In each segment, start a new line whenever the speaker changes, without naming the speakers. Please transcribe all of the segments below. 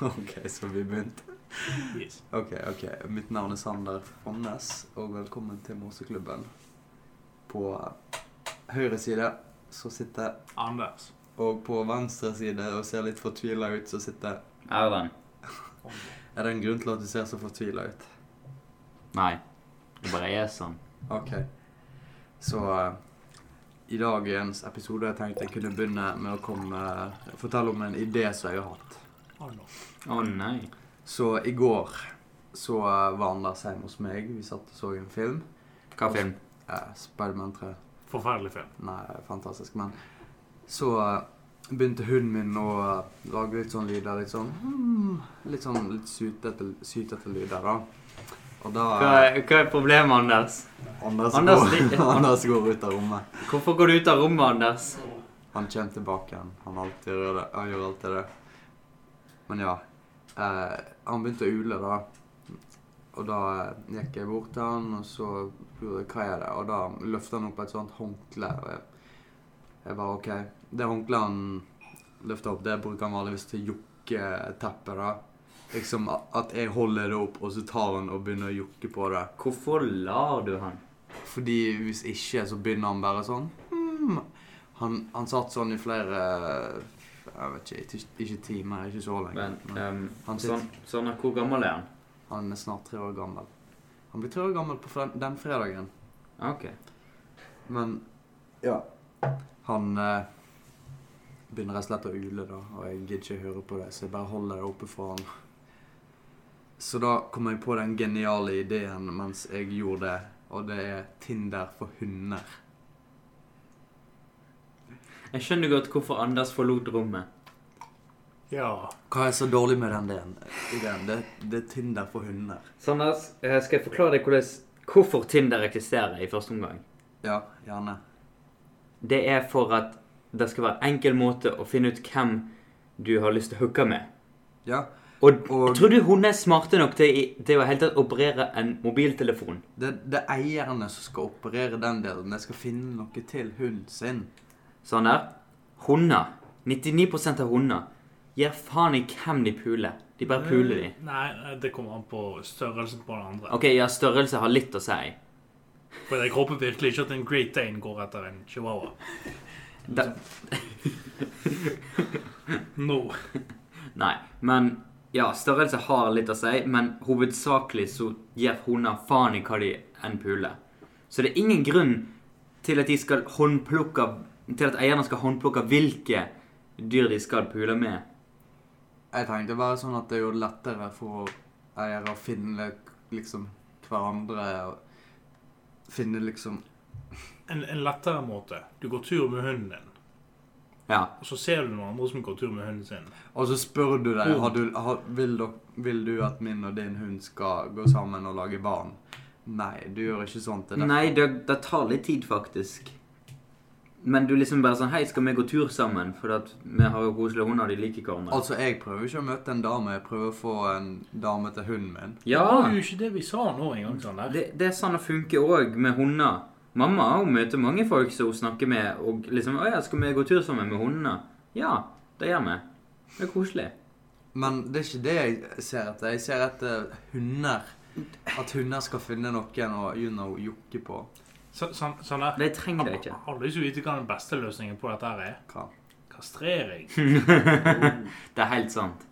OK, så vi begynte.
Yes.
Ok, ok. Mitt navn er Sander Fonnes, og velkommen til Morseklubben. På høyre side så sitter
Anders.
Og på venstre side og ser litt fortvila ut, så sitter
Erlend.
Er det en grunn til at du ser så fortvila ut?
Nei. Det bare er sånn.
OK. Så eh, i dagens episode har jeg tenkt jeg kunne begynne med å komme, eh, fortelle om en idé som jeg har hatt.
Anders.
Å nei.
Så i går så eh, var Anders hjemme hos meg. Vi satt og så en film.
Hva film?
Eh, Spiderman 3.
Forferdelig film.
Nei, fantastisk. Men så eh, begynte hunden min å eh, lage litt sånn lyder. Litt sånn hmm, Litt sånn litt sytete, sytete lyder, da. Og da
Hva
eh,
er, hva er problemet, Anders?
Anders,
Anders
går,
li-
Anders går ut av rommet.
Hvorfor går du ut av rommet, Anders?
Han kommer tilbake igjen. Han alltid gjør det. Han gjør alltid det. Men ja. Eh, han begynte å ule, da. Og da eh, gikk jeg bort til han, og så spurte jeg hva er det Og da løftet han opp et sånt håndkle. Og jeg, jeg bare OK. Det håndkleet han løfter opp, det bruker han vanligvis til jokketeppe, da. Liksom at- at jeg holder det opp, og så tar han og begynner å jokke på det.
Hvorfor lar du han?
Fordi hvis ikke, så begynner han bare sånn hmm. han, han satt sånn i flere Jeg vet ikke, ikke, ikke timer, ikke så lenge.
Men,
Men
um,
Han sitter-
sånn, sånn, at hvor gammel er han?
han er snart tre år gammel. Han blir tre år gammel på fre- den fredagen.
Ok.
Men ja. Han eh, begynner rett og slett å ule, da, og jeg gidder ikke høre på det, så jeg bare holder det oppe for han. Så da kom jeg på den geniale ideen mens jeg gjorde det, og det er Tinder for hunder.
Jeg skjønner godt hvorfor Anders forlot rommet.
Ja.
Hva er så dårlig med den ideen? ideen? Det, det er Tinder for hunder.
Sanders, eh, skal jeg forklare deg hvordan, hvorfor Tinder eksisterer i første omgang?
Ja, gjerne.
Det er for at det skal være enkel måte å finne ut hvem du har lyst til å hooke med.
Ja,
Og,
Og-
tror du hun er smarte nok til, i- til å helt tatt operere en mobiltelefon?
det, det er eierne som skal operere den delen. De skal finne noe til hunden sin.
Sånn der. Hunder. 99 av hunder gir faen i hvem de puler. De bare puler de.
Eh, Nei, nei, det kommer an på størrelsen på den andre.
Ok, ja, størrelse har litt å si.
For jeg håper virkelig ikke at en Great Dane går etter en chihuahua.
Da-
Nå.
Nei, men Ja, størrelse har litt å si, men hovedsakelig så gir hunder faen i hva de enn puler. Så det er ingen grunn til at de skal håndplukke Til at eierne skal håndplukke hvilke dyr de skal pule med.
Jeg tenkte bare sånn at det er jo lettere for eiere å finne liksom hverandre og finne liksom
En, en lettere måte. Du går tur med hunden din,
Ja.
og så ser du noen andre som går tur med hunden sin.
Og så spør du deg har du, har, vil, dok- vil du at min og din hund skal gå sammen og lage barn. Nei, du gjør ikke sånt til det.
Nei, det, det tar litt tid, faktisk. Men du liksom bare sånn Hei, skal vi gå tur sammen? For at vi har jo koselige hunder, de liker hverandre.
Altså, jeg prøver ikke å møte en dame. Jeg prøver å få en dame til hunden min.
ja!
Det var jo ikke det vi sa nå engang, Sander.
Det, det er sånn det funker òg med hunder. Mamma hun møter mange folk som hun snakker med, og liksom 'Å ja, skal vi gå tur sammen med hundene?' Ja, det gjør vi. Det er koselig.
Men det er ikke det jeg ser etter. Jeg ser etter hunder. At hunder skal finne noen å you know, jokke på.
Sa- Sa- Sander,
De trenger det ikke.
sånn, har du ikke vite hva den beste løsningen på dette her er?
Hva?
Kastrering.
Det er helt sant.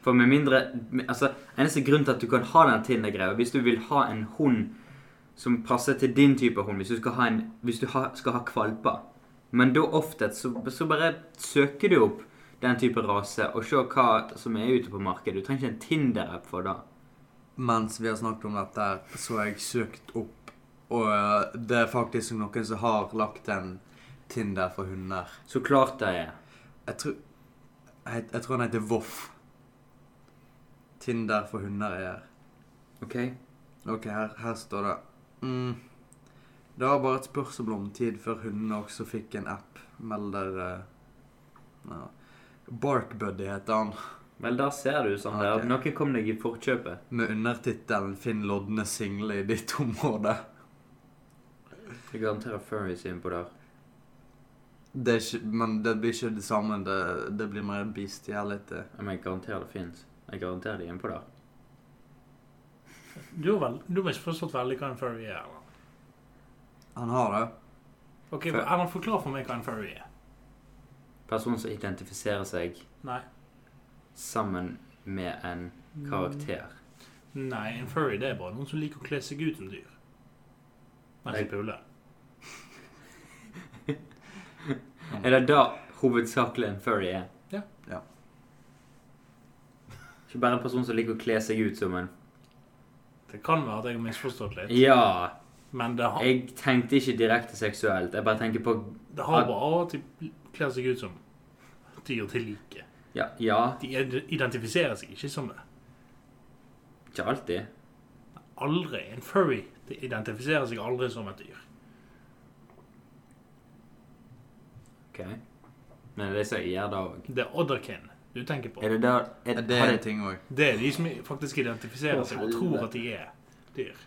For med mindre med- Altså, eneste grunn til at du kan ha den Tinder-greia, hvis du vil ha en hund som passer til din type hund, hvis du skal ha, en, hvis du ha, skal ha kvalper Men da ofte så, så bare søker du opp den type rase og ser hva som er ute på markedet. Du trenger ikke en Tinder-app for det.
Mens vi har snakket om dette, så har jeg søkt opp Og øh, det er faktisk noen som har lagt en Tinder for hunder.
Så klart det er.
Jeg tror Jeg, jeg tror den heter Voff. Tinder for hunder er her.
OK?
Ok, her, her står det mm. Det var bare et spørsmål om tid før hundene også fikk en app, melder eh, ja. Barkbuddy heter han,
Vel, der ser du, Sander,
Ja,
at noe kom deg i forkjøpet.
med undertittelen 'Finn loddene single i ditt område'.
Jeg garanterer furries er innpå der.
Det er ikke, men det blir ikke det samme, det, det blir mer bestiality.
Men jeg garanterer det fins. Jeg garanterer de er inne på det.
Du har vel- du har ikke forstått veldig hva en furry er, eller?
Han har det.
Ok,
Fur-
Erlend, forklar for meg hva en furry er.
Personer som identifiserer seg
Nei.
sammen med en karakter.
Nei, en furry det er bare noen som liker å kle seg ut som dyr. Men
Jeg-
ikke pule.
Er det da hovedsakelig en furry er?
Ja.
Ja.
Ikke bare en person som liker å kle seg ut som en
Det kan være at jeg har misforstått litt,
Ja!
men det har,
Jeg tenkte ikke direkte seksuelt. Jeg bare tenker på
det har bare å typ kle seg ut som dyr til like.
Ja, ja
De id- identifiserer seg ikke som det.
ikke alltid.
Aldri en furry. De identifiserer seg aldri som et dyr.
Ok. Men det er det som jeg gjør da òg.
Det er otherkin du tenker på.
Er det da er,
Er
det,
det
har
en
det,
ting òg?
Det er de som faktisk identifiserer
Å,
seg og tror at de er dyr.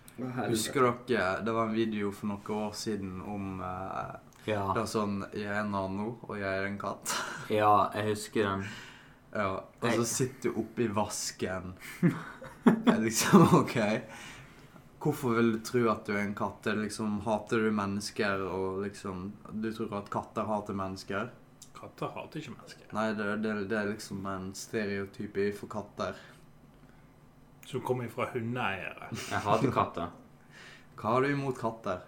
Husker dere det var en video for noen år siden om eh, Det
Ja.
er sånn Jeg er en nano, og jeg er en katt.
ja, jeg husker den.
Ja, og så sitter du oppi vasken. Det er liksom OK. Hvorfor vil du tro at du er en katt? Det er liksom, Hater du mennesker og liksom Du tror at katter hater mennesker?
Katter hater ikke mennesker.
Nei, det, det, det er liksom en stereotypi for katter.
Som kommer fra hundeeiere.
Jeg hater katter.
Hva har du imot katter?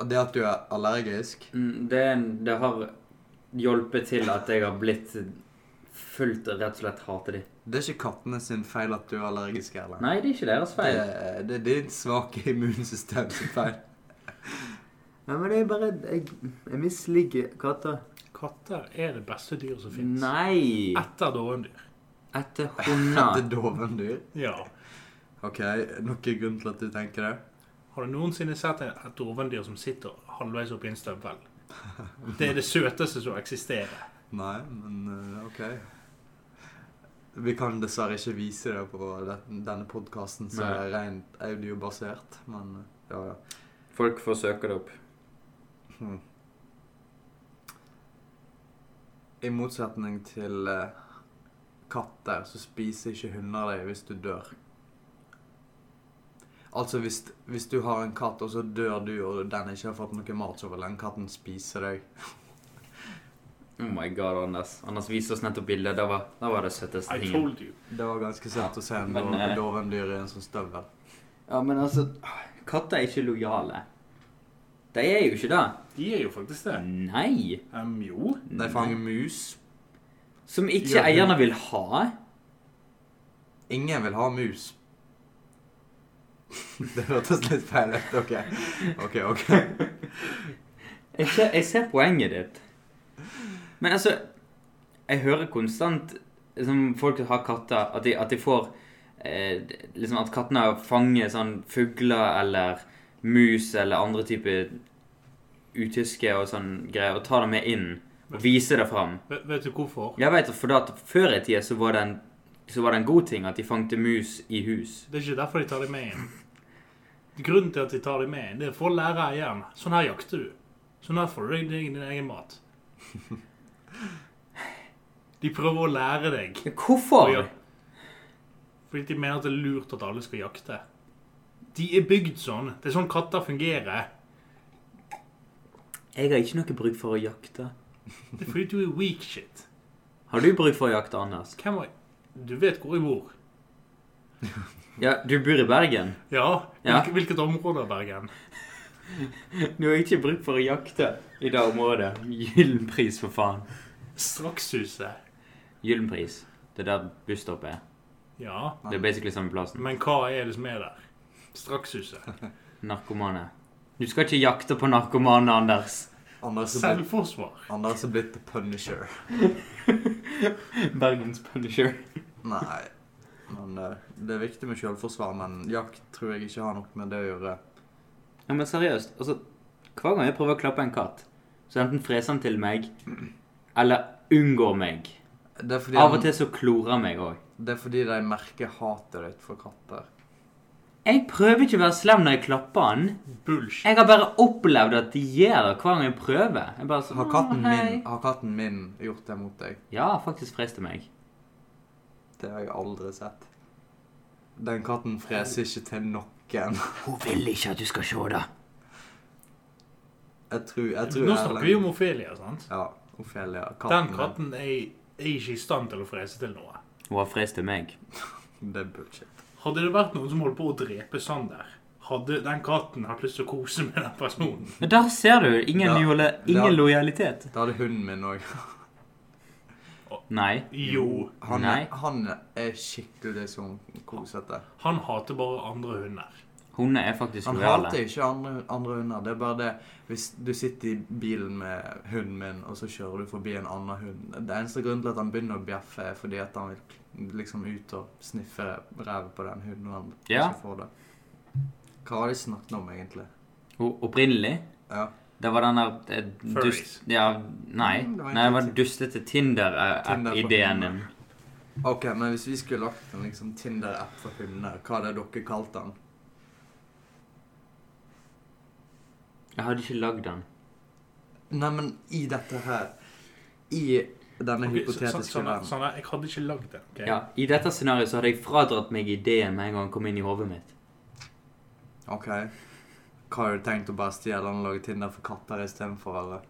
Og Det at du er allergisk?
Mm, Det, er en- det har hjulpet til at jeg har blitt fullt rett og slett hater de.
Det er ikke kattene sin feil at du er allergisk, eller?
Nei, det er ikke deres
Det,
feil.
er- det er ditt svake immunsystem sin feil.
Nei, men det er bare Jeg, jeg misliker katter.
Katter er det beste dyret som fins.
Nei!
Etter dovendyr.
Etter
Dette
hunder.
er dovendyr.
Ja.
Ok, noen grunn til at du tenker det?
Har du noensinne sett en- et dovendyr som sitter halvveis oppi en støvel? Det er det søteste som eksisterer.
Nei, men eh, ok. Vi kan dessverre ikke vise det på det- denne podkasten som
Nei.
er rent audiobasert, men eh, ja, ja.
Folk får søke det opp.
Hm. I motsetning til eh, katter, så spiser ikke hunder deg hvis du dør. Altså, hvis, hvis du har en katt, og så dør du, og den ikke har fått noe mat, så vil den katten spise deg.
Oh my god, Anders. Anders viste oss nettopp bildet. Da var, da var det søteste
I
tingen.
told you.
Det var ganske søtt å se en
Men, eh,
dov- dovendyr i en sånn støvel.
Ja, men altså Katter er ikke lojale. De er jo ikke det.
De er jo faktisk det.
Nei.
Um, jo.
De fanger mus.
Som ikke
Gjør det.
eierne vil ha.
Ingen vil ha mus. Det hørtes litt feil ut. OK. OK. ok.
Jeg ser, jeg ser poenget ditt. Men altså Jeg hører konstant liksom, folk som har katter, at de, at de får eh, liksom At kattene fanger sånn fugler eller mus eller andre typer utyske og sånn greier, og tar det med inn og viser det fram.
Vet, vet du hvorfor?
Jeg vet, for da at Før i tida så var det en så var det en god ting at de fangte mus i hus.
Det er ikke derfor de tar dem med inn. Grunnen til at de tar dem med inn, det er for å lære eieren. Sånn her jakter du. Sånn her får du deg din, din egen mat. De prøver å lære deg.
Men Hvorfor?
Å, ja. Fordi de mener at det er lurt at alle skal jakte. De er bygd sånn. Det er sånn katter fungerer.
Jeg har ikke noe bruk for å jakte.
Det er fordi du er weak shit.
Har du bruk for å jakte, Anders?
Hvem var Du vet hvor jeg bor.
Ja, du bor i Bergen.
Ja.
Ja.
Hvilket, hvilket område av Bergen?
Du har ikke bruk for å jakte i det området. Gyllen pris, for faen.
Strakshuset.
Gyllen pris. Det er der busstoppet er.
Ja.
Det er basically samme plassen.
Men hva er det som er der? Strakshuset.
Narkomane. Du skal ikke jakte på narkomane, Anders.
Anders er blitt,
Selvforsvar.
Anders er blitt the punisher.
Bergens Punisher.
Nei. Men eh, det er viktig med selvforsvar, men jakt tror jeg ikke har noe med det å gjøre.
Ja, men seriøst. Altså, hver gang jeg prøver å klappe en katt, så enten freser han til meg, eller unngår meg.
Det er fordi,
Av og
han-
til så klorer han meg òg.
det er fordi de merker hatet ditt for katter.
Jeg prøver ikke å være slem når jeg klapper han.
Bullshit.
Jeg har bare opplevd at de gjør det hver gang jeg prøver. Jeg bare sånn,
Har katten
«Å, hei».
min, har katten min gjort det mot deg?
Ja, faktisk freste meg.
Det har jeg aldri sett. Den katten freser ikke til noen.
Hun vil ikke at du skal se det.
Jeg tror, jeg tror
Nå snakker vi om
Erlend-
Ofelia, sant?
Ja, Ofelia.
Den katten er, er ikke i stand til å frese til noe.
Hun har frest til meg.
Det er bullshit.
Hadde det vært noen som holdt på å drepe Sander, hadde den katten hatt lyst til å kose med den personen.
Men der ser du! Ingen,
Ja.
jole- ingen
Ja.
lojalitet.
Det hadde hunden min òg.
Nei.
Jo.
Han,
Nei.
han er skikkelig sånn kosete.
Han hater bare andre hunder.
Hunder er faktisk
Han
lojale.
hater ikke andre, andre hunder. Det er bare det Hvis du sitter i bilen med hunden min, og så kjører du forbi en annen hund Det eneste grunnen til at han begynner å bjeffe, er fordi at han vil liksom ut og sniffe rævet på den hunden. Og han
Ja.
ikke får det. Hva har de snakket om, egentlig?
O- Opprinnelig
Ja.
Det var den der eh,
Furries.
dust... Ja, nei.
Mm, det var
Nei, det var
egentlig-
dustete eh,
Tinder for
Tinder-ideen din.
hunder. OK, men hvis vi skulle lagt en liksom Tinder-app for hunder, hva hadde dere kalt den?
Jeg hadde ikke lagd den.
Nei, men i dette her I denne
Ok, så- så-
hypotetiske
sånn,
verden.
sånn, jeg hadde ikke lagd det. ok?
Ja, I dette scenarioet så hadde jeg fradratt meg ideen med en gang den kom inn i hodet mitt.
OK. Hva har du tenkt å bare stjele og lage Tinder for katter istedenfor, eller?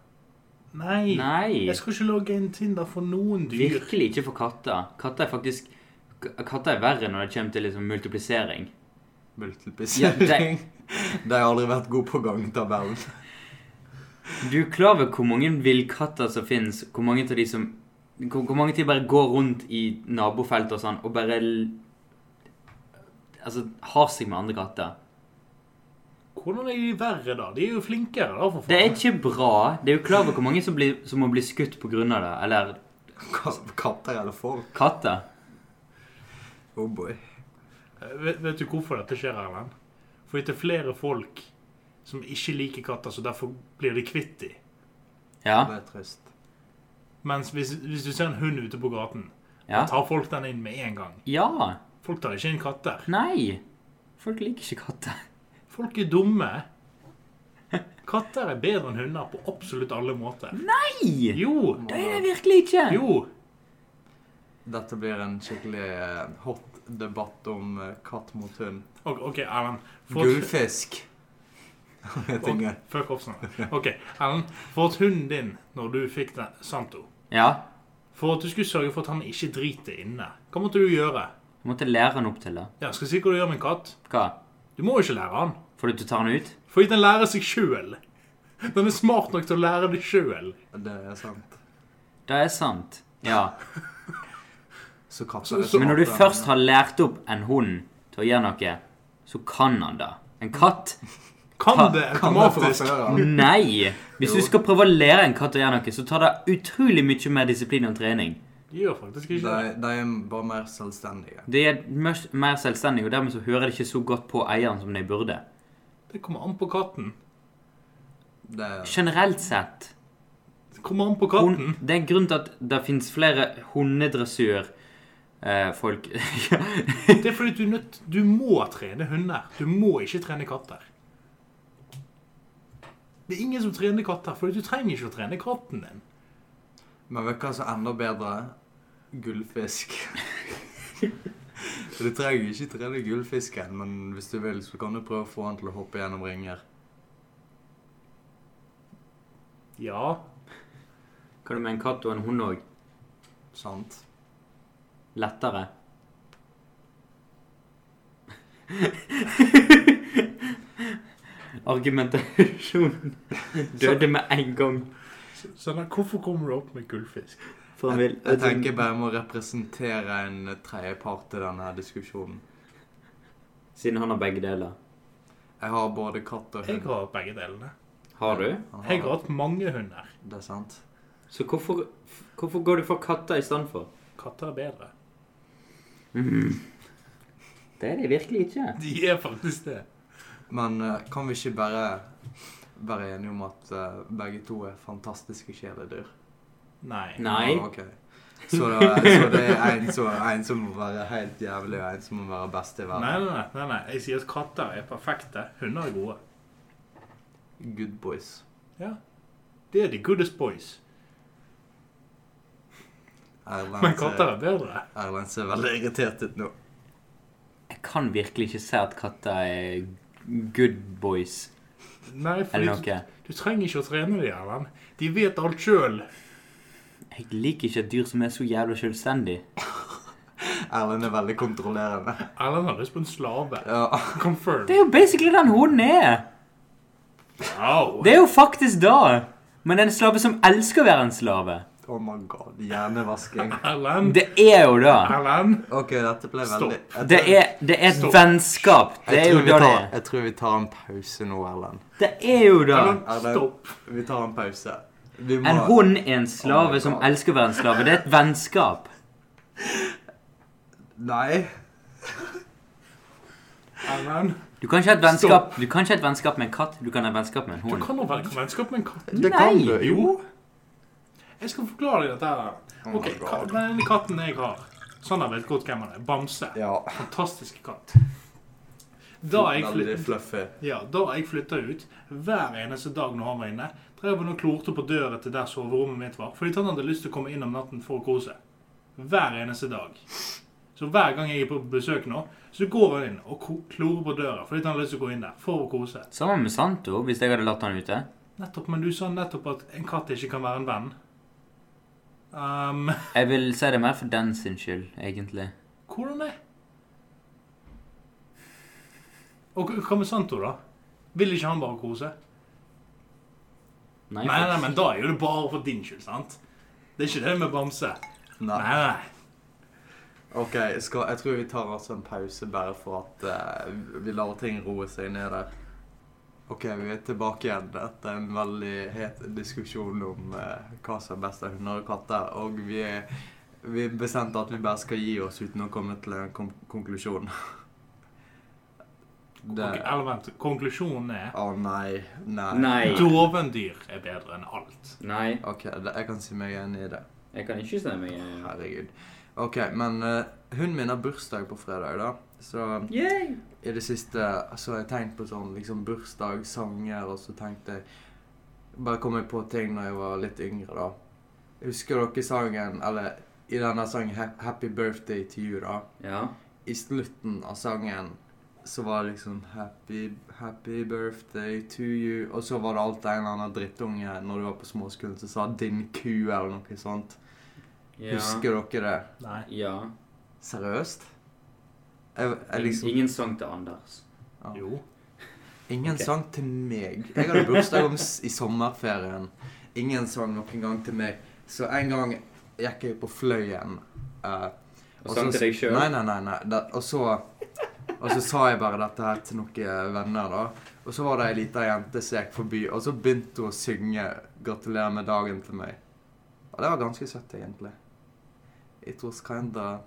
Nei.
Nei!
Jeg skal ikke lage en Tinder for noen dyr.
Virkelig ikke for katter. Katter er faktisk k- Katter er verre når det kommer til liksom multiplisering.
Multiplisering. De har aldri vært gode på gangetabellen.
Du er klar over hvor mange villkatter som fins? Hvor mange av de som hvor, hvor mange av de bare går rundt i nabofeltet og sånn og bare l- Altså har seg med andre katter?
Hvordan er de verre, da? De er jo flinkere, da, for faen.
Det er ikke bra. Det er jo klar over hvor mange som, blir, som må bli skutt pga. det. Eller
Ka- Katter eller folk?
katter.
Oh boy.
Eh, Vet, vet du hvorfor dette skjer, Erlend? Fordi det er flere folk som ikke liker katter, så derfor blir de kvitt de.
Ja.
Det er trist.
Mens hvis, hvis du ser en hund ute på gaten,
Ja.
tar folk den inn med en gang.
ja.
Folk tar ikke inn katter.
Nei. Folk liker ikke katter.
Folk er dumme. Katter er bedre enn hunder på absolutt alle måter.
Nei!
Jo!
Det er det virkelig ikke.
Jo!
Dette blir en skikkelig eh, hot debatt om eh, katt mot hund.
Ok, ok, Erlend. For at-
Gullfisk. Jeg tenker
Fuck off snart. Ok, Erlend. For at hunden din, når du fikk den, Santo
Ja.
For at du skulle sørge for at han ikke driter inne, hva måtte du gjøre?
Jeg måtte lære han opp til det.
Ja, skal jeg si hva du gjør med en katt?
Hva?
Du må jo ikke lære han.
Fordi du tar han ut?
Fordi den lærer seg sjøl. Den er smart nok til å lære det sjøl.
Det er sant.
Det er sant. Ja.
Så katter
Så-
er
så-
Men når du
smartere enn
først
hunder.
har lært opp en hund til å gjøre noe, så kan han det. En katt?
Kan det
Kan det fra
automatisk.
før av.
Nei!
Jo.
Hvis du skal prøve å lære en katt å gjøre noe, så tar det utrolig mye mer disiplin og trening.
De gjør faktisk ikke det.
De, de er bare mer selvstendige.
De er mørs- mer selvstendige, og dermed så hører de ikke så godt på eieren som de burde.
Det kommer an på katten.
Det er
Generelt sett
Det kommer an på
hun,
katten.
Det er en grunn til at det fins flere hundedressørfolk eh, folk.
Det er fordi du, er nødt, du må trene hunder. Du må ikke trene katter. Det er ingen som trener katter, for du trenger ikke å trene katten din.
Men vet du hva som er enda bedre? Gullfisk. For Du trenger ikke trene gullfisken, men hvis du vil, så kan du prøve å få han til å hoppe gjennom ringer.
Ja,
Hva du med en katt og en hund òg?
Sant?
Lettere? Argumentasjon døde med en gang.
så da, hvorfor kommer du opp med gullfisk?
For han
Jeg,
vil
jeg tenker bare jeg må representere en tredjepart i denne her diskusjonen.
Siden han har begge deler.
Jeg har både katt og
Jeg
hund.
har begge delene.
Har du?
Han
Jeg har
har,
hatt mange hunder.
det er sant.
Så hvorfor, hvorfor går du for katter i stedet for?
Katter er bedre.
Mm.
Det er de virkelig ikke.
De er faktisk det.
Men eh, kan vi ikke bare være enige om at eh, begge to er fantastiske kjæledyr?
Nei.
Nei.
Ja, Ah, ok. Så, da- så det er en som, en som må være helt jævlig, og en som må være best i
Nei,
verden.
nei, nei, nei, nei. Jeg sier at katter er perfekte. Hunder er gode.
Good boys.
Ja. Det er the goodest boys. Men
Erlend
katter
ser,
er bedre.
Erlend ser veldig irritert ut nå.
Jeg kan virkelig ikke se at katter er good boys
Nei, fordi
eller
du,
noe.
du trenger ikke å trene dem, Erlend. De vet alt sjøl.
Jeg liker ikke et dyr som er så jævla selvstendig.
Erlend er veldig kontrollerende.
Erlend har lyst på en slave.
Ja.
Confirm.
Det er jo basically den hunden er.
Wow.
Det er jo faktisk da. Men en slave som elsker å være en slave.
Oh my god, hjernevasking.
Erlend.
Det er jo da.
Erlend.
Ok, dette ble
Stopp.
veldig jeg
Det
tror-
er, det er et
Stopp.
vennskap. Det
jeg
er
tror
jo
vi
da det
tar-
er.
Jeg tror vi tar en pause nå, Erlend.
Det er jo da.
Erlend,
Erlend.
stopp.
Vi tar en pause. Vi må
En hund er en
Oh
slave
my
som
God.
elsker å være en slave. Det er et vennskap.
Nei.
Erlend.
Du kan ikke ha et vennskap, du kan ikke ha et vennskap med en katt. Du kan ha et vennskap med en
Du
hund.
kan ha vel- vennskap med en katt.
Det kan
Nei.
du. Jo.
Jeg skal forklare deg dette. her.
Oh my
Ok, ka-
God.
Den ene katten jeg har Sander vet godt hvem han er. Bamse.
Ja.
Fantastisk katt. Da jeg
Veldig
flyttet
fluffy.
Ja, da jeg flytta ut, hver eneste dag når han var inne, drev han og klorte på døra til der soverommet mitt var, fordi han hadde lyst til å komme inn om natten for å kose. Hver eneste dag. Så hver gang jeg er på besøk nå, så går han inn og ko- klorer på døra fordi han har lyst til å gå inn der for å kose.
Sammen med Santo, hvis jeg hadde latt han ute.
Nettopp, Men du sa nettopp at en katt ikke kan være en venn. Ehm,
Jeg vil si det mer for den sin skyld, egentlig.
hvordan det? Og hva med Santo, da? Vil ikke han bare kose?
Nei,
Nei, nei, men da er jo det bare for din skyld, sant? Det er ikke det med bamse. Nei,
Nei.
nei.
Ok, skal, jeg tror vi tar altså en pause bare for at eh, vi lar ting roe seg ned der. Ok, vi er tilbake igjen etter en veldig het diskusjon om eh, hva som er best av hunder og katter. Og vi, er- vi bestemte at vi bare skal gi oss uten å komme til en kon konklusjon. Det
Ok,
Å
eller vent, konklusjonen er
nei. Nei.
Nei.
dovendyr er bedre enn alt.
Nei,
Ok, det, jeg kan si meg enig i det.
jeg kan ikke stemme.
Herregud. Ok, men eh, hunden min har bursdag på fredag, da. Så
Yay!
i det siste så har jeg tenkt på sånn liksom bursdagssanger, og så tenkte jeg Bare kom jeg på ting når jeg var litt yngre, da. Husker dere sangen, eller i denne sangen Hap- 'Happy Birthday to You', da?
Ja.
I slutten av sangen så var det liksom 'Happy, happy birthday to you', og så var det alltid en eller annen drittunge når du var på småskolen som sa 'din ku', eller noe sånt.
ja.
Husker dere det?
Nei.
Ja.
Seriøst? Jeg, jeg
Ingen-
liksom
Ingen sang til Anders.
Ja.
Jo.
Ingen
Ok.
sang til meg. Jeg hadde bursdag om, s- i sommerferien. Ingen sang noen gang til meg. Så en gang gikk jeg på Fløyen. eh,
Og sang
så-
til deg sjøl.
Nei, nei, nei. nei. Da, og, så, og så sa jeg bare dette her til noen eh, venner, da. Og så var det ei lita jente som gikk forbi, og så begynte hun å synge 'Gratulerer med dagen' til meg. Og det var ganske søtt, egentlig. It was kinda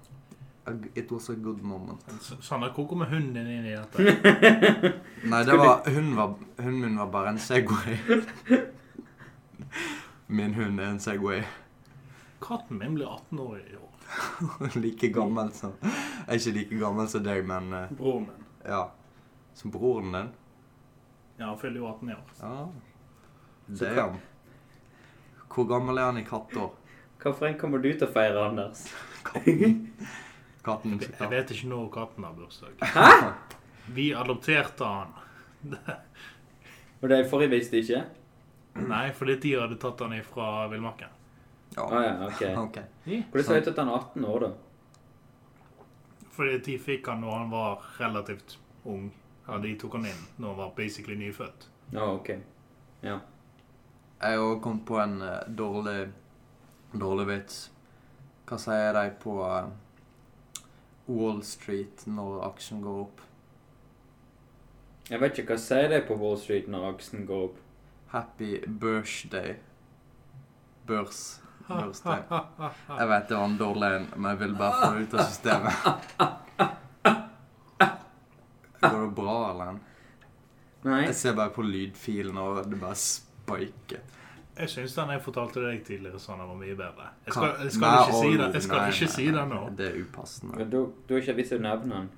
a g- It was a good moment.
S- Sander, hvor kommer hunden din inn i dette?
Nei, det
Skulle-
var, hun var, hunden min var bare en Segway. Min hund er en Segway.
Katten min blir 18 år i år.
Like gammel som Jeg er ikke like gammel som deg, men eh,
Broren min.
ja. Som broren din.
Ja, han fyller jo 18 i år.
Ja.
Så
Det er han. Hvor gammel er han i kattår?
Hvorfor kommer du til å feire Anders?
Katten. Katten
Jeg vet ikke når katten har bursdag.
Hæ?
Vi adopterte han.
Og det forrige visste ikke?
Nei, fordi de hadde tatt han ifra villmarken.
Å
Ja.
ja, ok.
Ok.
Hvordan ser det ut at han er 18 år, da?
Fordi de fikk han når han var relativt ung. Ja, de tok han inn når han var basically nyfødt.
Ja, ok. Ja.
Jeg har også kommet på en eh, dårlig dårlig vits. Hva sier de på eh, Wall Street når aksjen går opp?
Jeg vet ikke hva sier det på Wall Street når aksen går opp.
Happy birthday. Børs. Børsdag.
Nei,
Jeg vet det var en dårlig en, men jeg vil bare få det ut av systemet. Går det bra, Erlend?
Nei.
Jeg ser bare på lydfilen, og det bare spiker.
Jeg syns den jeg fortalte deg tidligere, Sander, var mye bedre. Jeg skal,
Hva-
jeg skal
Nei,
ikke si
å,
det, jeg skal
nei,
ikke
nei,
si det nå.
nei, Det er upassende.
Men da- Da er ikke vits å nevne han.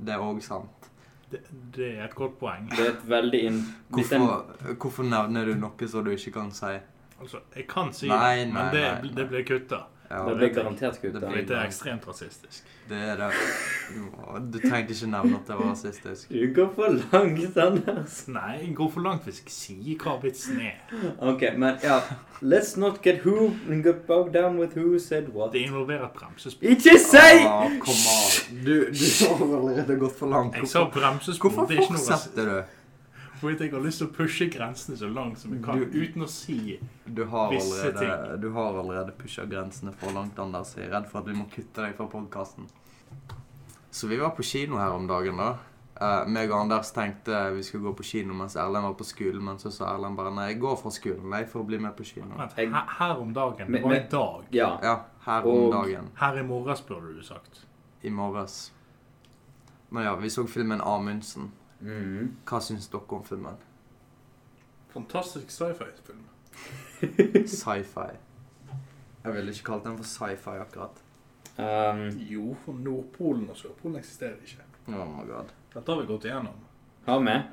Det er òg sant.
Det, det er et godt poeng.
Det er et veldig inn... Hvis den-
Hvorfor, hvorfor nevner du noe som du ikke kan si?
Altså, jeg kan si
Nei,
det,
nei,
men det,
nei, nei.
det blir kutta.
Ja,
Det blir garantert kutt.
Det
da.
blir-
Dette er ekstremt rasistisk.
det er det. Å, Du trengte ikke nevne at det var rasistisk.
Du går for langt, Anders.
Nei, jeg går for langt hvis jeg sier hva vitsen er.
Ok, men ja. Let's not get who and get bogged down with who said what.
Det involverer bremsespor.
Ikke si!
Å, kom an. Du, du har allerede gått for langt.
Jeg sa
Hvorfor,
bremsespor.
hvorfor
det er ikke noe rasistisk.
fortsetter du?
Fordi jeg har lyst til å pushe grensene så langt som jeg kan,
Du-
uten å si
Du har,
Visse
allerede, du har allerede pusha grensene for langt, Anders. Jeg er redd for at vi må kutte deg fra podkasten. Så vi var på kino her om dagen, da. Eh, meg og Anders tenkte vi skulle gå på kino mens Erlend var på skolen, men så sa Erlend bare nei, jeg går fra skolen nei, for å bli med på kino.
Vent, her, her om dagen
Men-
og i
men-
dag.
Ja.
Ja, her om
Og-
dagen.
Her i morges, burde du sagt.
I morges. Men ja, vi så filmen Amundsen.
Mhm.
Hva syns dere om filmen?
Fantastisk sci-fi-film.
Sci-fi. Jeg ville ikke kalt den for sci-fi akkurat.
Um,
Jo, for Nordpolen og Sørpolen eksisterer ikke.
Oh my god.
Dette har vi gått igjennom.
ha med.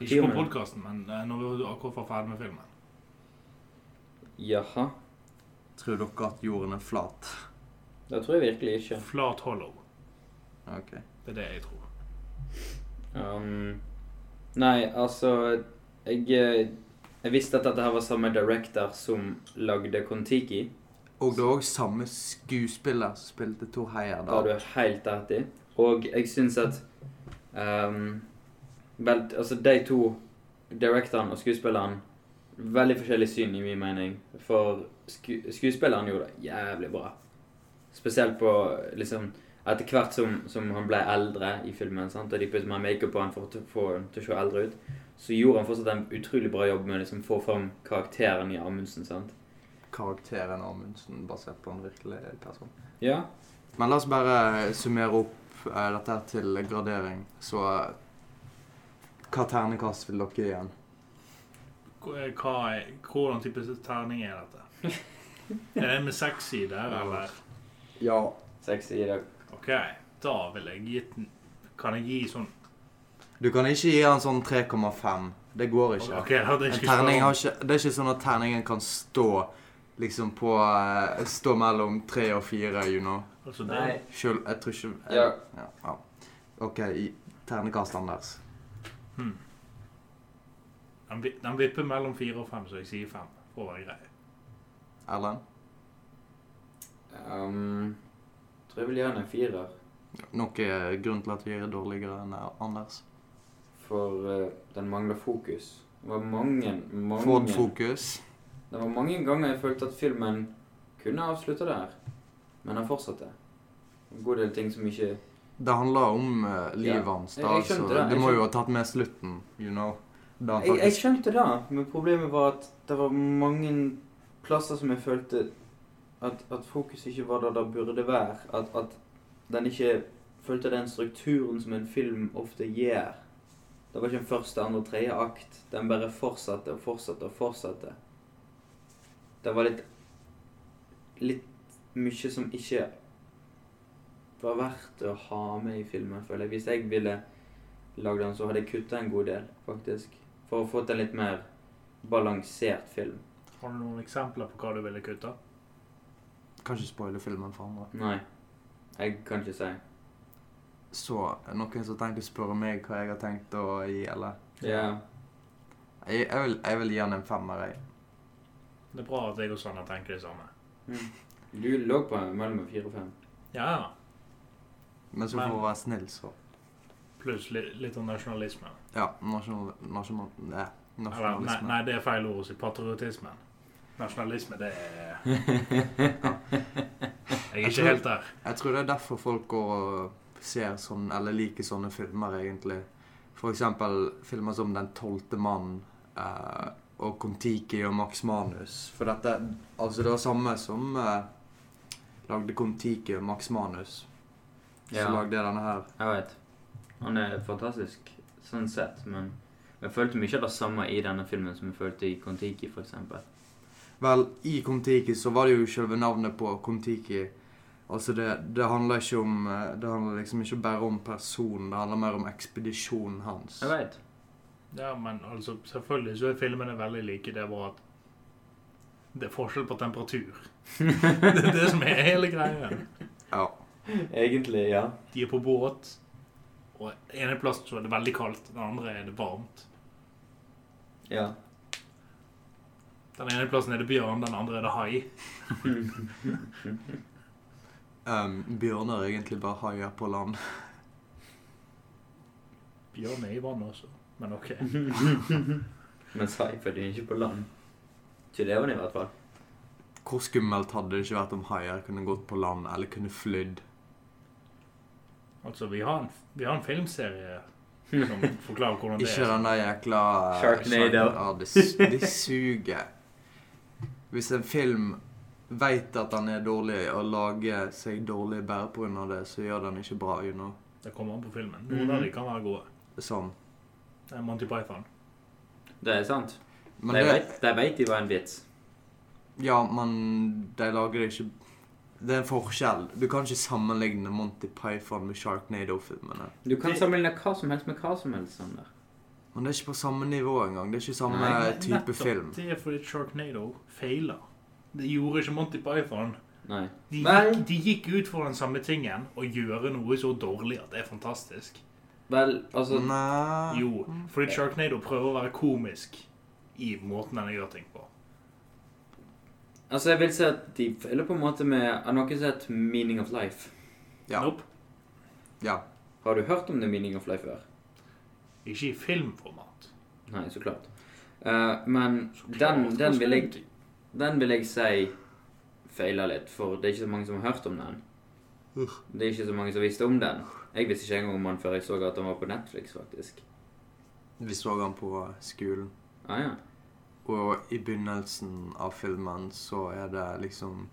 Ikke på
Filmen.
podkasten, men eh, når vi akkurat var ferdig med filmen.
Jaha.
Tror dere at jorden er flat?
Det tror jeg virkelig ikke.
Flat Hollow.
Ok.
Det er det jeg tror.
Um, nei, altså jeg, eh, jeg visste at dette her var samme director som lagde Kon-Tiki.
Og det er òg samme skuespiller som spilte Tor
Det har
Heyerdahl.
du helt rett i. Og jeg syns at um, vel, Altså, de to, directoren og skuespilleren Veldig forskjellig syn i min mening. For sku, skuespilleren gjorde det jævlig bra. Spesielt på liksom Etter hvert som, som han ble eldre i filmen, sant? og de puttet mer makeup på han for å få han til å se eldre ut, så gjorde han fortsatt en utrolig bra jobb med å liksom, få fram karakteren i Amundsen. sant?
Karakteren Amundsen, basert på en virkelig person.
Ja.
Men la oss bare summere opp eh, dette her til gradering. Så eh, hva ternekast vil dere gi igjen?
eh, Hva, er- hvordan type terning er dette? Er det med seks sider, eller?
Ja.
Sexy i dag.
OK, da vil jeg gi den Kan jeg gi sånn
Du kan ikke gi han sånn 3,5. Det går ikke.
OK, da hadde jeg
En
ikke sånn.
terning
spørre
har
om.
ikke, det er ikke sånn at terningen kan stå liksom på eh, Stå mellom tre og fire, you know.
Altså, det,
Nei.
Sjøl Jeg tror ikke jeg,
Ja.
ja, ja. OK, i ternekast, Anders.
den, vi- den vipper mellom fire og fem, så jeg sier fem. For å være grei.
Erlend?
Um, tror jeg vil gjøre en firer.
Noe grunn til at vi er dårligere enn Anders.
For eh, den mangler fokus. Det var mange, mange
Få et fokus.
Det var mange ganger jeg følte at filmen kunne avslutta der, men han fortsatte. En god del ting som ikke
Det handler om eh, livet
Ja,
hans,
jeg-
da.
jeg
så
skjønte det, jeg
du må jo ha
skjønte-
tatt med slutten, you know. Da
jeg,
han
jeg
faktisk
skjønte det, men problemet var at det var mange plasser som jeg følte at, at fokus ikke var der det burde være. At, at den ikke fulgte den strukturen som en film ofte gjør. Det var ikke en første, andre, tredje akt. Den bare fortsatte og fortsatte og fortsatte. Det var litt litt mye som ikke var verdt å ha med i filmen, føler jeg. Hvis jeg ville lagd den, så hadde jeg kutta en god del, faktisk. For å få til en litt mer balansert film.
Har du noen eksempler på hva du ville kutta?
Kan ikke spoile filmen for andre.
Nei, jeg kan ikke si.
Så er det noen som tenker å spørre meg hva jeg har tenkt å gi, eller?
Ja.
Jeg, jeg, vil, jeg vil gi han en femmer, jeg.
Det er bra at jeg og Sanna tenker det samme.
Mm. Du lå på mellom fire og fem.
Ja, ja.
Men så
Men-
for å være snill, så.
Pluss litt, litt om nasjonalisme.
Ja. Nasjonal... Nasjonal... Nei.
Eller, nei,
Nasjonalisme.
nei, det er feil ord å si. Patriotismen. Nasjonalisme, det er Jeg er ikke helt der.
Jeg tror det er derfor folk går og ser sånn, eller liker sånne filmer, egentlig. For eksempel filmer som Den tolvte mann eh, og Kon-Tiki og Max Manus. For dette Altså, det var samme som eh, lagde Kon-Tiki og Max Manus. Så
Ja.
lagde jeg denne her.
Jeg vet. Han er fantastisk sånn sett, men jeg følte mye av det samme i denne filmen som jeg følte i Kon-Tiki, for eksempel.
Vel, i Kon-Tiki så var det jo selve navnet på Kon-Tiki. Altså, det, det handler ikke om eh, Det handler liksom ikke bare om personen, det handler mer om ekspedisjonen hans.
Jeg vet.
Ja, men altså, selvfølgelig så er filmene veldig like. Det er bare at det er forskjell på temperatur. Det er det som er hele greia.
Ja.
Egentlig, ja.
De er på båt, og ene plassen så er det veldig kaldt, den andre er det varmt.
ja.
Den ene plassen er det bjørn, den andre er det hai.
Um, bjørner er egentlig bare haier på land.
Bjørn er i vannet også, men ok.
Men Cypher er ikke på land. Ikke det var det i hvert fall.
Hvor skummelt hadde det ikke vært om haier kunne gått på land eller kunne flydd?
Altså, vi har en, vi har en filmserie som forklarer hvordan det
Ikke
er.
den der jækla eh,
Sharknado.
shark- Ja, det, s- det suger. Hvis en film veit at den er dårlig, og lager seg dårlig bare pga. det, så gjør den ikke bra. You know.
Det kommer an på filmen. Noen
Mhm.
av de kan være gode.
Sånn.
Det er Monty Python.
Det er sant.
Men
de,
det,
vet, de vet det var en vits.
ja, men de lager det ikke Det er en forskjell. Du kan ikke sammenligne Monty Python med Sharknado-filmene.
Du kan
Det-
sammenligne hva som helst med hva som helst. Sander.
Men det er ikke på samme nivå engang. Det er ikke samme
Nei,
eh, type
Nettopp
film.
Det er fordi Sharknado feiler. Det gjorde ikke Monty Python.
Nei.
De
Vel.
gikk, de gikk ut for den samme tingen og gjøre noe så dårlig at det er fantastisk.
Vel, altså
Nei
Jo, fordi Sharknado prøver å være komisk i måten den gjør ting på.
Altså, jeg vil si at de feiler på en måte med Har noen sett Meaning of Life?
Ja.
Nope.
ja.
Har du hørt om The Meaning of Life før?
Ikke i filmformat.
Nei, så klart. Eh, men den, den, vil jeg, den vil jeg si feiler litt, for det er ikke så mange som har hørt om den. Det er ikke så mange som visste om den. Jeg visste ikke engang om den før jeg så at den var på Netflix, faktisk.
Vi så den på skolen.
Ah, ja.
Og i begynnelsen av filmen så er det liksom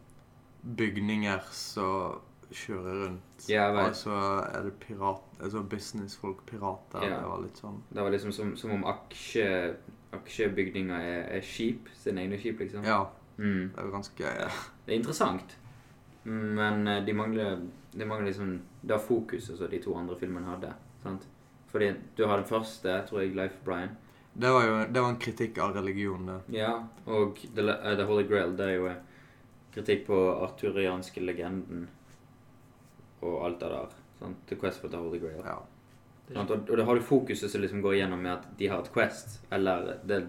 bygninger som kjører rundt.
Ja, jeg vet.
og så er det pirat, altså businessfolk, pirater.
Ja.
Det var litt sånn
Det var liksom som, som om aksje, aksjebygninger er, er skip, sine egne skip, liksom.
Ja,
Mm.
det er ganske
Det er interessant, men eh, de mangler, de mangler liksom det fokuset som de to andre filmene hadde. sant? Fordi du har den første, tror jeg, Life of Brian.
Det var jo det var en kritikk av religion, det.
Ja, og The, Le- eh, The Holy Grail, det er jo eh, kritikk på arturianske legenden og alt det der. sant? The Quest for The Holy Grail.
Ja.
Sant? Og, og da har du fokuset som liksom går gjennom med at de har et quest, eller the,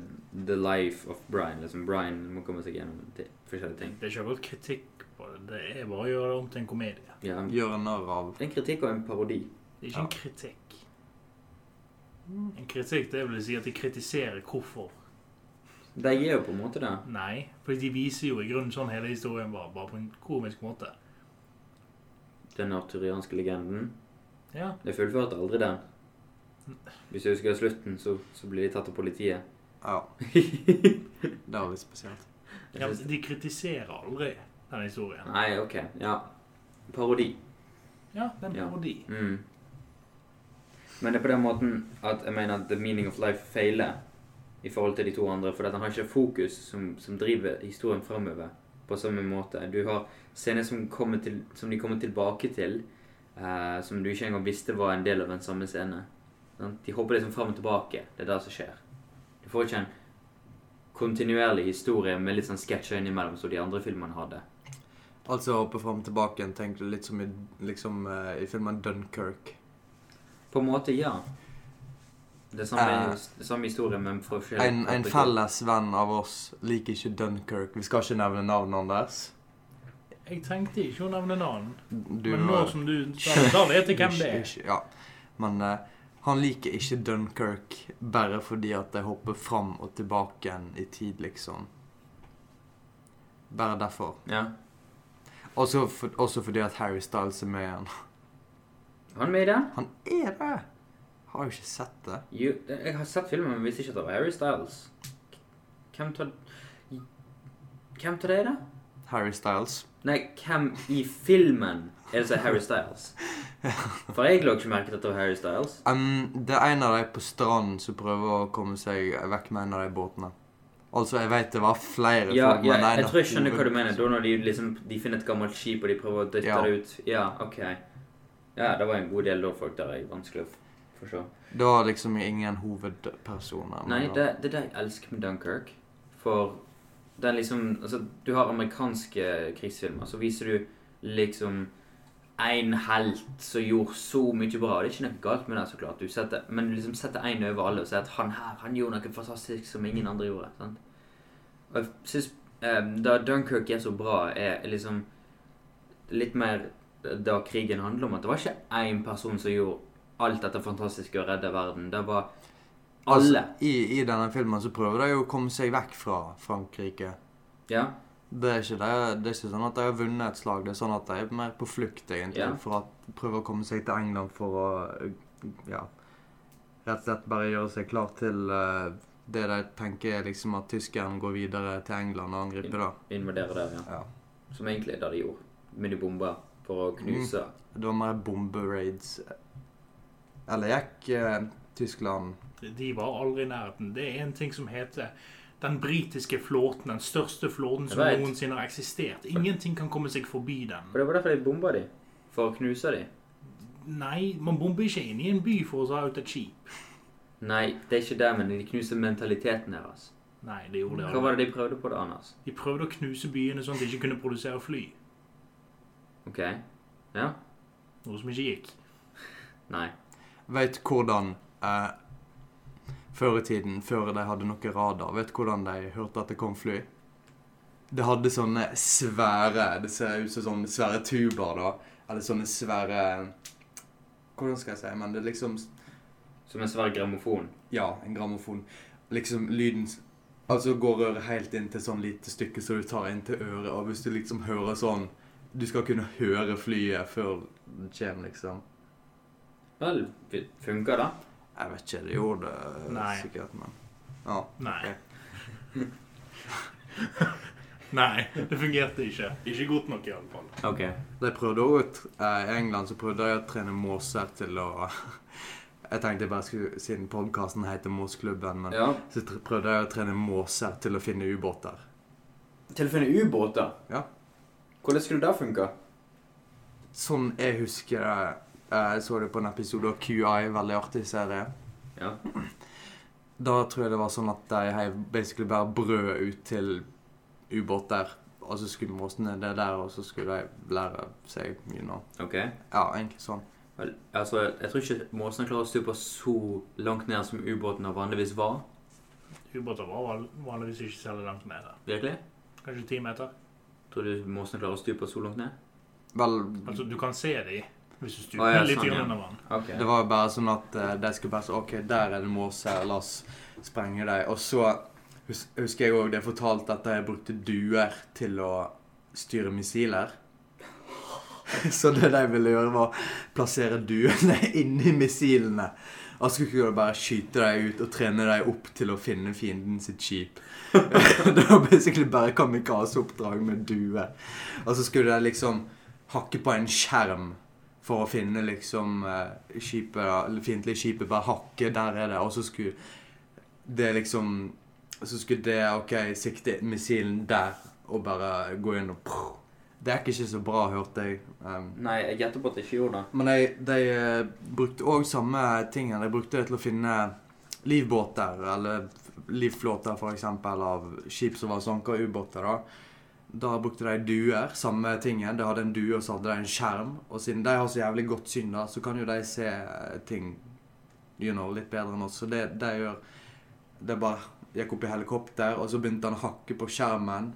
the life of Brian. liksom Brian må komme seg gjennom til forskjellige ting.
Det er ikke akkurat kritikk på det. Det er bare å gjøre det om til en komedie.
Ja, det
Gjøre narr av
er en kritikk og en parodi.
Det er ikke en kritikk. En kritikk, det vil si at de kritiserer hvorfor.
De er jo på en måte det.
Nei, for de viser jo i grunnen sånn hele historien var, bare på en komisk måte.
Den arturianske legenden.
Ja,
De fullførte aldri den. Hvis du husker slutten, så, så blir de tatt av politiet.
Ja. Det var litt spesielt.
ja men de kritiserer aldri den historien.
Nei, OK. Ja. Parodi.
Ja, det er en
Ja.
parodi.
Mm. Men det er på den måten at jeg mener at The Meaning of Life feiler i forhold til de to andre, fordi at han har ikke fokus som, som driver historien framover på samme måte. Du har scener som, kommer til, som de kommer tilbake til, eh, som du ikke engang visste var en del av den samme scenen. Sant? De hopper liksom fram og tilbake. Det er det som skjer. Du får ikke en kontinuerlig historie med litt sånn sketsjer innimellom som de andre filmene hadde.
Altså hoppe fram og tilbake igjen, tenkte jeg, litt som i, liksom, eh, i filmen Dunkerque.
På en måte, ja. Det samme,
Eh,
det samme historie, men fra forskjellige
En, en
perspektiv.
felles venn av oss liker ikke Dunkerque. Vi skal ikke nevne navnet hans.
Jeg tenkte ikke å nevne navn,
Du
men nå
var-
som du sa det, da vet jeg hvem det er.
Ikke- ikke- Ja. Men eh, han liker ikke Dunkerque bare fordi at de hopper fram og tilbake igjen i tid, liksom. Bare derfor.
Ja.
Også, for, også fordi at Harry Styles er med igjen.
Var han med i den?
Han er det! Har jo ikke sett det.
Jo, jeg har sett filmen, men visste ikke at det var Harry Styles. Hvem tar Hvem tar det, da?
Harry Styles.
Nei, hvem i filmen er det som er Harry Styles? For jeg la ikke merke til at det var Harry Styles.
Um, det er en av de på stranden som prøver å komme seg vekk med en av de båtene. Altså, jeg vet det var flere
Ja,
folk,
ja,
men det er en
jeg
av
tror jeg skjønner hva du
hoved-
mener. Da når de liksom De finner et gammelt skip, og de prøver å dytte
Ja.
det ut. Ja, OK. Ja, det var en god del da folk der jeg vanskelig å forstå.
Det var liksom ingen hovedpersoner. men
Nei,
da-
det, det er det jeg elsker med Dunkerque. For det er liksom altså, Du har amerikanske krigsfilmer, så viser du liksom én helt som gjorde så mye bra. Det er ikke noe galt med det, så klart. Du setter, men du liksom setter én over alle og sier at han her han gjorde noe fantastisk som ingen andre gjorde. Sant? Og jeg synes, eh, Da Dunkerque er så bra, er liksom litt mer da krigen handler om at det var ikke én person som gjorde alt dette fantastiske og redda verden. Det var alle.
Altså, i, I denne filmen så prøver de jo å komme seg vekk fra Frankrike.
Ja.
Det er ikke, det, det er ikke sånn at de har vunnet et slag, det er sånn at de er mer på flukt, egentlig.
Ja.
For å prøve å komme seg til England for å Ja. Rett og slett bare gjøre seg klar til eh, det de tenker er liksom at tyskerne går videre til England og angriper, da.
Invadere der, ja.
Ja.
Som egentlig er det de gjorde. Med de bomba for å knuse
Det var mer bomberaids. Eller gikk eh, Tyskland
De var aldri i nærheten. Det er en ting som heter den britiske flåten. Den største flåten som
Jeg vet.
noensinne har eksistert. Ingenting kan komme seg forbi den.
For det var derfor de bomba de. For å knuse de.
Nei, man bomber ikke inn i en by for å ta ut et skip.
Nei, det er ikke det, men de knuser mentaliteten deres.
Nei, det gjorde de
Hva
aldri.
var det de prøvde på da, Anders?
De prøvde å knuse byene sånn at de ikke kunne produsere fly.
OK? Ja?
Noe som ikke gikk.
Nei.
Vet hvordan eh, Før i tiden, før de hadde noe radar, vet hvordan de hørte at det kom fly? Det hadde sånne svære Det ser ut som sånne svære tuber, da. Eller sånne svære Hvordan skal jeg si Men det er liksom
Som en svær grammofon.
Ja, en grammofon. Liksom lyden s- Altså går røret helt inn til sånn lite stykke så du tar inn til øret, og hvis du liksom hører sånn Du skal kunne høre flyet før det kommer, liksom.
Vel, funka det?
Jeg vet ikke, det gjorde det
Nei.
sikkert, men Ja.
Nei. Nei, det fungerte ikke. Ikke godt nok, i alle fall.
OK.
De prøvde også, eh, I England så prøvde de å trene måser til å Jeg tenkte jeg bare skulle, siden podkasten heter Måsklubben, men
Ja.
så tr- prøvde de å trene måser til å finne ubåter.
Til å finne ubåter?
Ja.
Hvordan skulle det funka?
Sånn jeg husker det eh, Jeg så det på en episode av QI, veldig artig serie.
Ja.
Da tror jeg det var sånn at de heiv basically bare brød ut til ubåter. Og så skulle måsene det der, og så skulle de lære seg you know.
OK.
Ja, egentlig sånn.
Vel, altså, jeg tror ikke måsene klarer å stupe så langt ned som ubåtene vanligvis var.
Ubåter var van- vanligvis ikke særlig langt nede.
Virkelig?
Kanskje ti meter.
Tror du måsene klarer å stupe så langt ned?
Vel
Altså, du kan se dem hvis du stuper
Mm. Å, ja,
litt
sånn, ja.
under vann.
OK.
Det var jo bare sånn at eh, de skulle bare så, OK, der er det måser, la oss sprenge dem. Og så hus husker jeg òg det fortalte at de brukte duer til å styre missiler. Så det de ville gjøre, var plassere duene inni missilene. Og så skulle de bare skyte dem ut og trene dem opp til å finne fienden sitt skip. det var basically bare kamikazeoppdrag med duer. Og så skulle de liksom hakke på en skjerm for å finne liksom eh, skipet, eller fiendtlig skipet, bare hakke, der er det, og så skulle det liksom Så skulle det, OK, sikte missilen der, og bare gå inn og prr. Det gikk ikke så bra, hørte jeg. Um,
Nei, jeg gjetter på at det ikke gjorde det.
men de, de eh, brukte òg samme tingene. De brukte det til å finne livbåter, eller livflåter for eksempel, av skip som var sanka og ubåter. Da Da brukte de duer, samme tingen. De hadde en due, og så hadde de en skjerm. Og siden de har så jævlig godt syn, da, så kan jo de se eh, ting you know, litt bedre enn oss. Så det de gjør Det bare gikk opp i helikopter, og så begynte han å hakke på skjermen.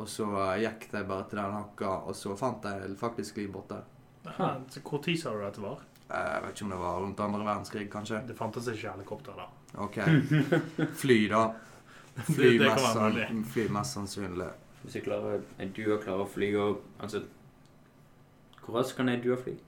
Og så eh, gikk de bare til den hakka, og så fant de faktisk livbåter.
Ja, så Hvor tid sa du at det var?
Eh, Jeg vet ikke om det var rundt andre verdenskrig, kanskje.
Det fantes ikke helikopter da.
Ok. Fly, da. Fly,
Det- det kan
mest,
være
sann- fly mest sannsynlig.
Hvis jeg klarer, en due klarer å fly og Altså Hvor raskt kan en due fly?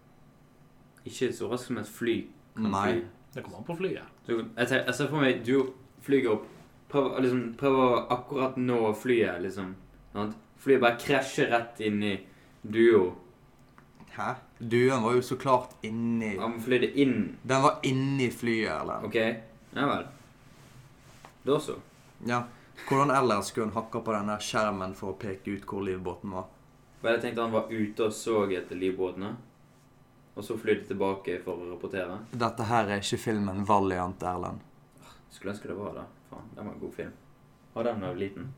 Ikke så raskt som et fly. kan
Nei.
Fly.
Det kommer an på flyet.
Så jeg, ser, jeg ser for meg due flyger opp Prøv å liksom, prøv å akkurat nå flyet, liksom. Sant? Flyet bare krasjer rett inn i duo.
Hæ? Duen var jo så klart inni
Han flyr det inn.
Den var inni flyet, eller?
OK? Ja vel. Da så.
Ja. Hvordan ellers skulle hun hakka på denne skjermen for å peke ut hvor livbåten var?
Vel, jeg tenkte han var ute og så etter livbåtene. Og så flydde tilbake for å rapportere.
Dette her er ikke filmen Valiant, Erlend.
Skulle ønske det var det. Faen, den var en god film. Var den da jeg var liten?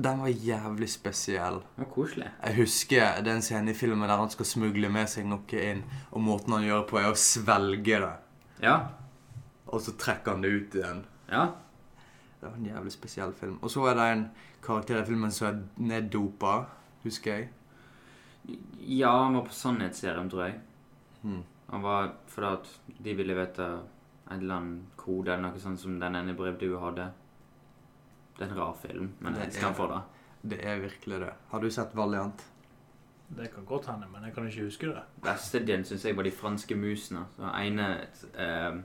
den var jævlig spesiell.
Det var koselig.
Jeg husker den scenen i filmen der han skal smugle med seg noe inn, og måten han gjør det på, er å svelge det.
Ja.
Og så trekker han det ut igjen.
Ja.
Det var en jævlig spesiell film. Og så er det en karakter i filmen som er neddopa, husker jeg.
Ja, han var på sannhetsserum, tror jeg.
Hmm.
Han var fordi at de ville vite en eller annen kode eller noe sånt som den ene brevdua hadde. Det er en rar film, men
Det
jeg elsker
er-
den for det.
Det er virkelig det. Har du sett Valiant?
Det kan godt hende, men jeg kan ikke huske det.
Beste delen syns jeg var de franske musene. Så Den ene eh,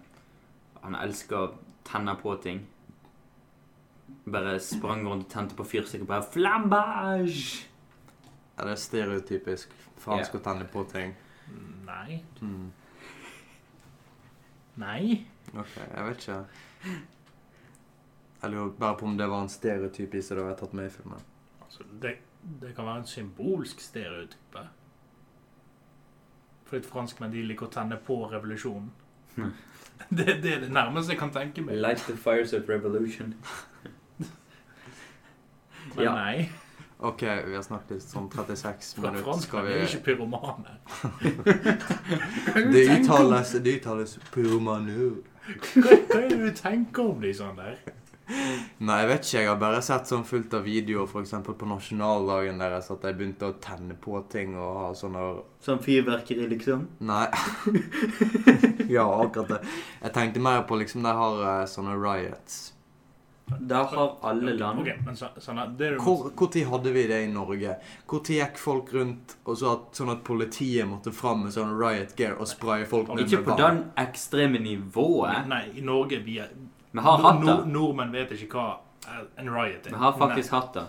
Han elsker å tenne på ting. Bare sprang rundt og tente på fyrstikker og bare Flambage!
Er det stereotypisk fransk å tenne på ting?
Nei.
Hmm.
Nei.
Ok, jeg vet ikke. Jeg lurer bare på om det var en stereotyp i seg da jeg tatt med i filmen.
Altså, det, det kan være en symbolsk stereotype. Fordi franskmenn de liker å tenne på revolusjonen.
Hm.
Det, det er det nærmeste jeg kan tenke meg.
Light the fires of revolution.
Men
Ja.
nei,
Ok, vi har snakket i sånn 36
fra
minutter. Skal
franskmenn
vi
er ikke pyromane.
Det uttales, det uttales pyromanu.
Hva, hva er det du tenker om de sånn der?
Nei, jeg vet ikke. Jeg har bare sett sånn fullt av videoer for eksempel på nasjonaldagen deres at de begynte å tenne på ting og ha sånne
Sånn fyrverkeri, liksom.
Nei. ja, akkurat det. Jeg tenkte mer på liksom de har eh, sånne riots.
Da har alle land
Ok, men så, sånn at det er jo...
Hvor, hvor tid hadde vi det i Norge? Hvor tid gikk folk rundt og så at, sånn at politiet måtte fram med sånn riot gear og spraye folk ned
Ikke
med
på
vann?
den ekstreme nivået.
Nei, i Norge, vi er...
Vi har hatt det.
Nord- nordmenn vet ikke hva en riot er.
Vi har faktisk hatt det.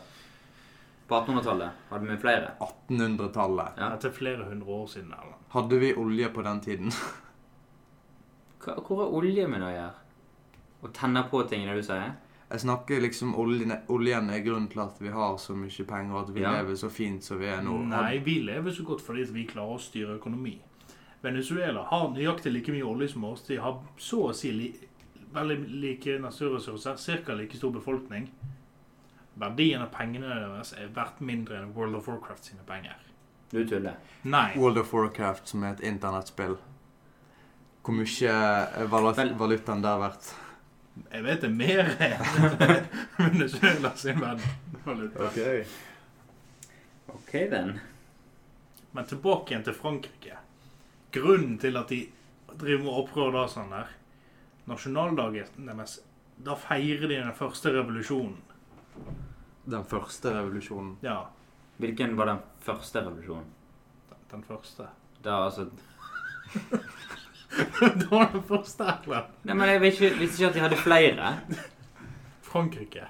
På 1800-tallet hadde vi flere.
1800-tallet.
Nei,
Ja.
dette er flere hundre år siden, eller?
Hadde vi olje på den tiden?
Hva- Hvor er olje med det å gjøre? Å tenne på ting, er det du sier?
Jeg snakker liksom oljen, oljen er grunnen til at vi har så mye penger og at vi
Ja.
lever så fint som vi er nå.
Nei, vi lever så godt fordi at vi klarer å styre økonomi. Venezuela har nøyaktig like mye olje som oss. De har så å si li veldig like naturressurser, ca. like stor befolkning. Verdien av pengene deres er verdt mindre enn World of Warcraft sine penger.
Du tuller.
Nei.
World of Warcraft, som er et internettspill. Hvor mye er vala-
Vel-
valutaen der verdt?
Jeg vet det er mer enn Venezuela sin verden- valuta.
OK, then.
Men tilbake igjen til Frankrike. Grunnen til at de driver med opprør da, sånn der Nasjonaldagen deres, da feirer de den første revolusjonen.
Den første revolusjonen.
Ja,
Hvilken var den første revolusjonen?
den første.
Da, altså...
det var den første, eller?
Nei, men Jeg vet ikke, visste ikke at de hadde flere.
Frankrike.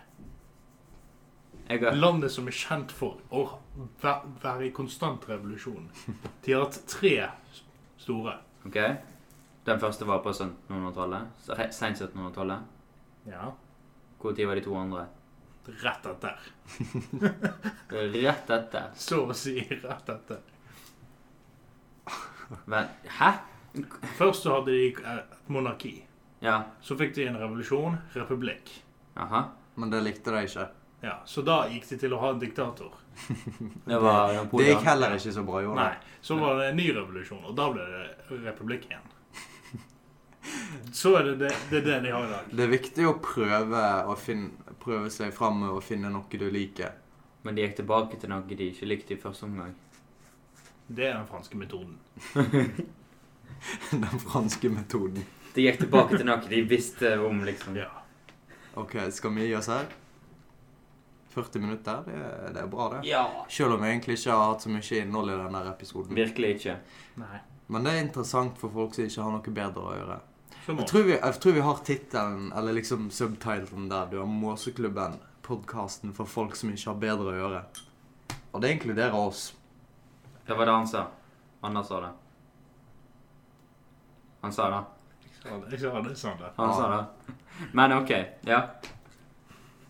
Jeg har...
Landet som er kjent for å væ- være i konstant revolusjon. De har hatt tre store.
OK. Den første var på 1700-tallet. Så- he- Sent 1700-tallet.
Ja,
Hvor tid var de to andre?
rett etter.
Rett etter.
Så å si rett etter.
Men, hæ?
Først så hadde de eh, et monarki.
Ja.
Så fikk de en revolusjon, republikk.
Aha.
Men det likte de ikke.
Ja, Så da gikk de til å ha en diktator.
Det var
Det gikk
Napoleon.
heller ikke så bra i år.
Nei. Så var det en ny revolusjon, og da ble det republikk igjen. Så er det det, det, er det de har i dag.
Det er viktig å prøve, å finne, prøve seg fram og finne noe du liker.
Men de gikk tilbake til noe de ikke likte i første omgang.
Det er den franske metoden.
Den franske metoden.
De gikk tilbake til noe de visste om, liksom.
Ja.
Ok, skal vi gi oss her? 40 minutter, det er, det er bra, det.
Ja.
Selv om vi egentlig ikke har hatt så mye innhold i denne episoden.
Virkelig ikke.
Nei.
Men det er interessant for folk som ikke har noe bedre å gjøre.
Så må
Jeg tror vi, jeg tror vi har tittelen, eller liksom subtitlen der. Du har Måseklubben, podkasten for folk som ikke har bedre å gjøre. Og det inkluderer oss.
Det var det han sa. Anders sa det. Han sa det.
Jeg sa det sånn der.
Han
Ja.
sa det. Men OK. Ja.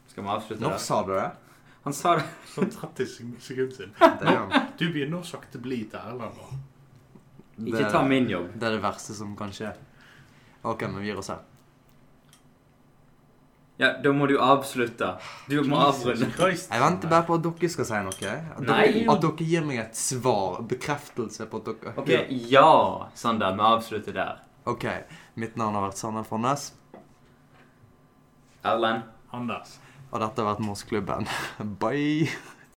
Skal vi avslutte
Når
der?
sa du det?
Han sa det.
Sånn 30 sek- sekunder siden.
Damn.
Du begynner å sakte bli til Erlend nå.
Ikke ta min jobb.
Det er det verste som kan skje. Ok, men vi gir oss her.
Ja, da må du avslutte. Du må avrunde.
Christ.
Jeg venter bare på at dere skal si noe. At dere,
Nei.
at dere gir meg et svar. Bekreftelse på at dere
Ok, ja, Sander. Vi avslutter der.
OK. Mitt navn har vært Sander Fonnes,
Erlend?
Anders.
og dette har vært Morsklubben. Bye.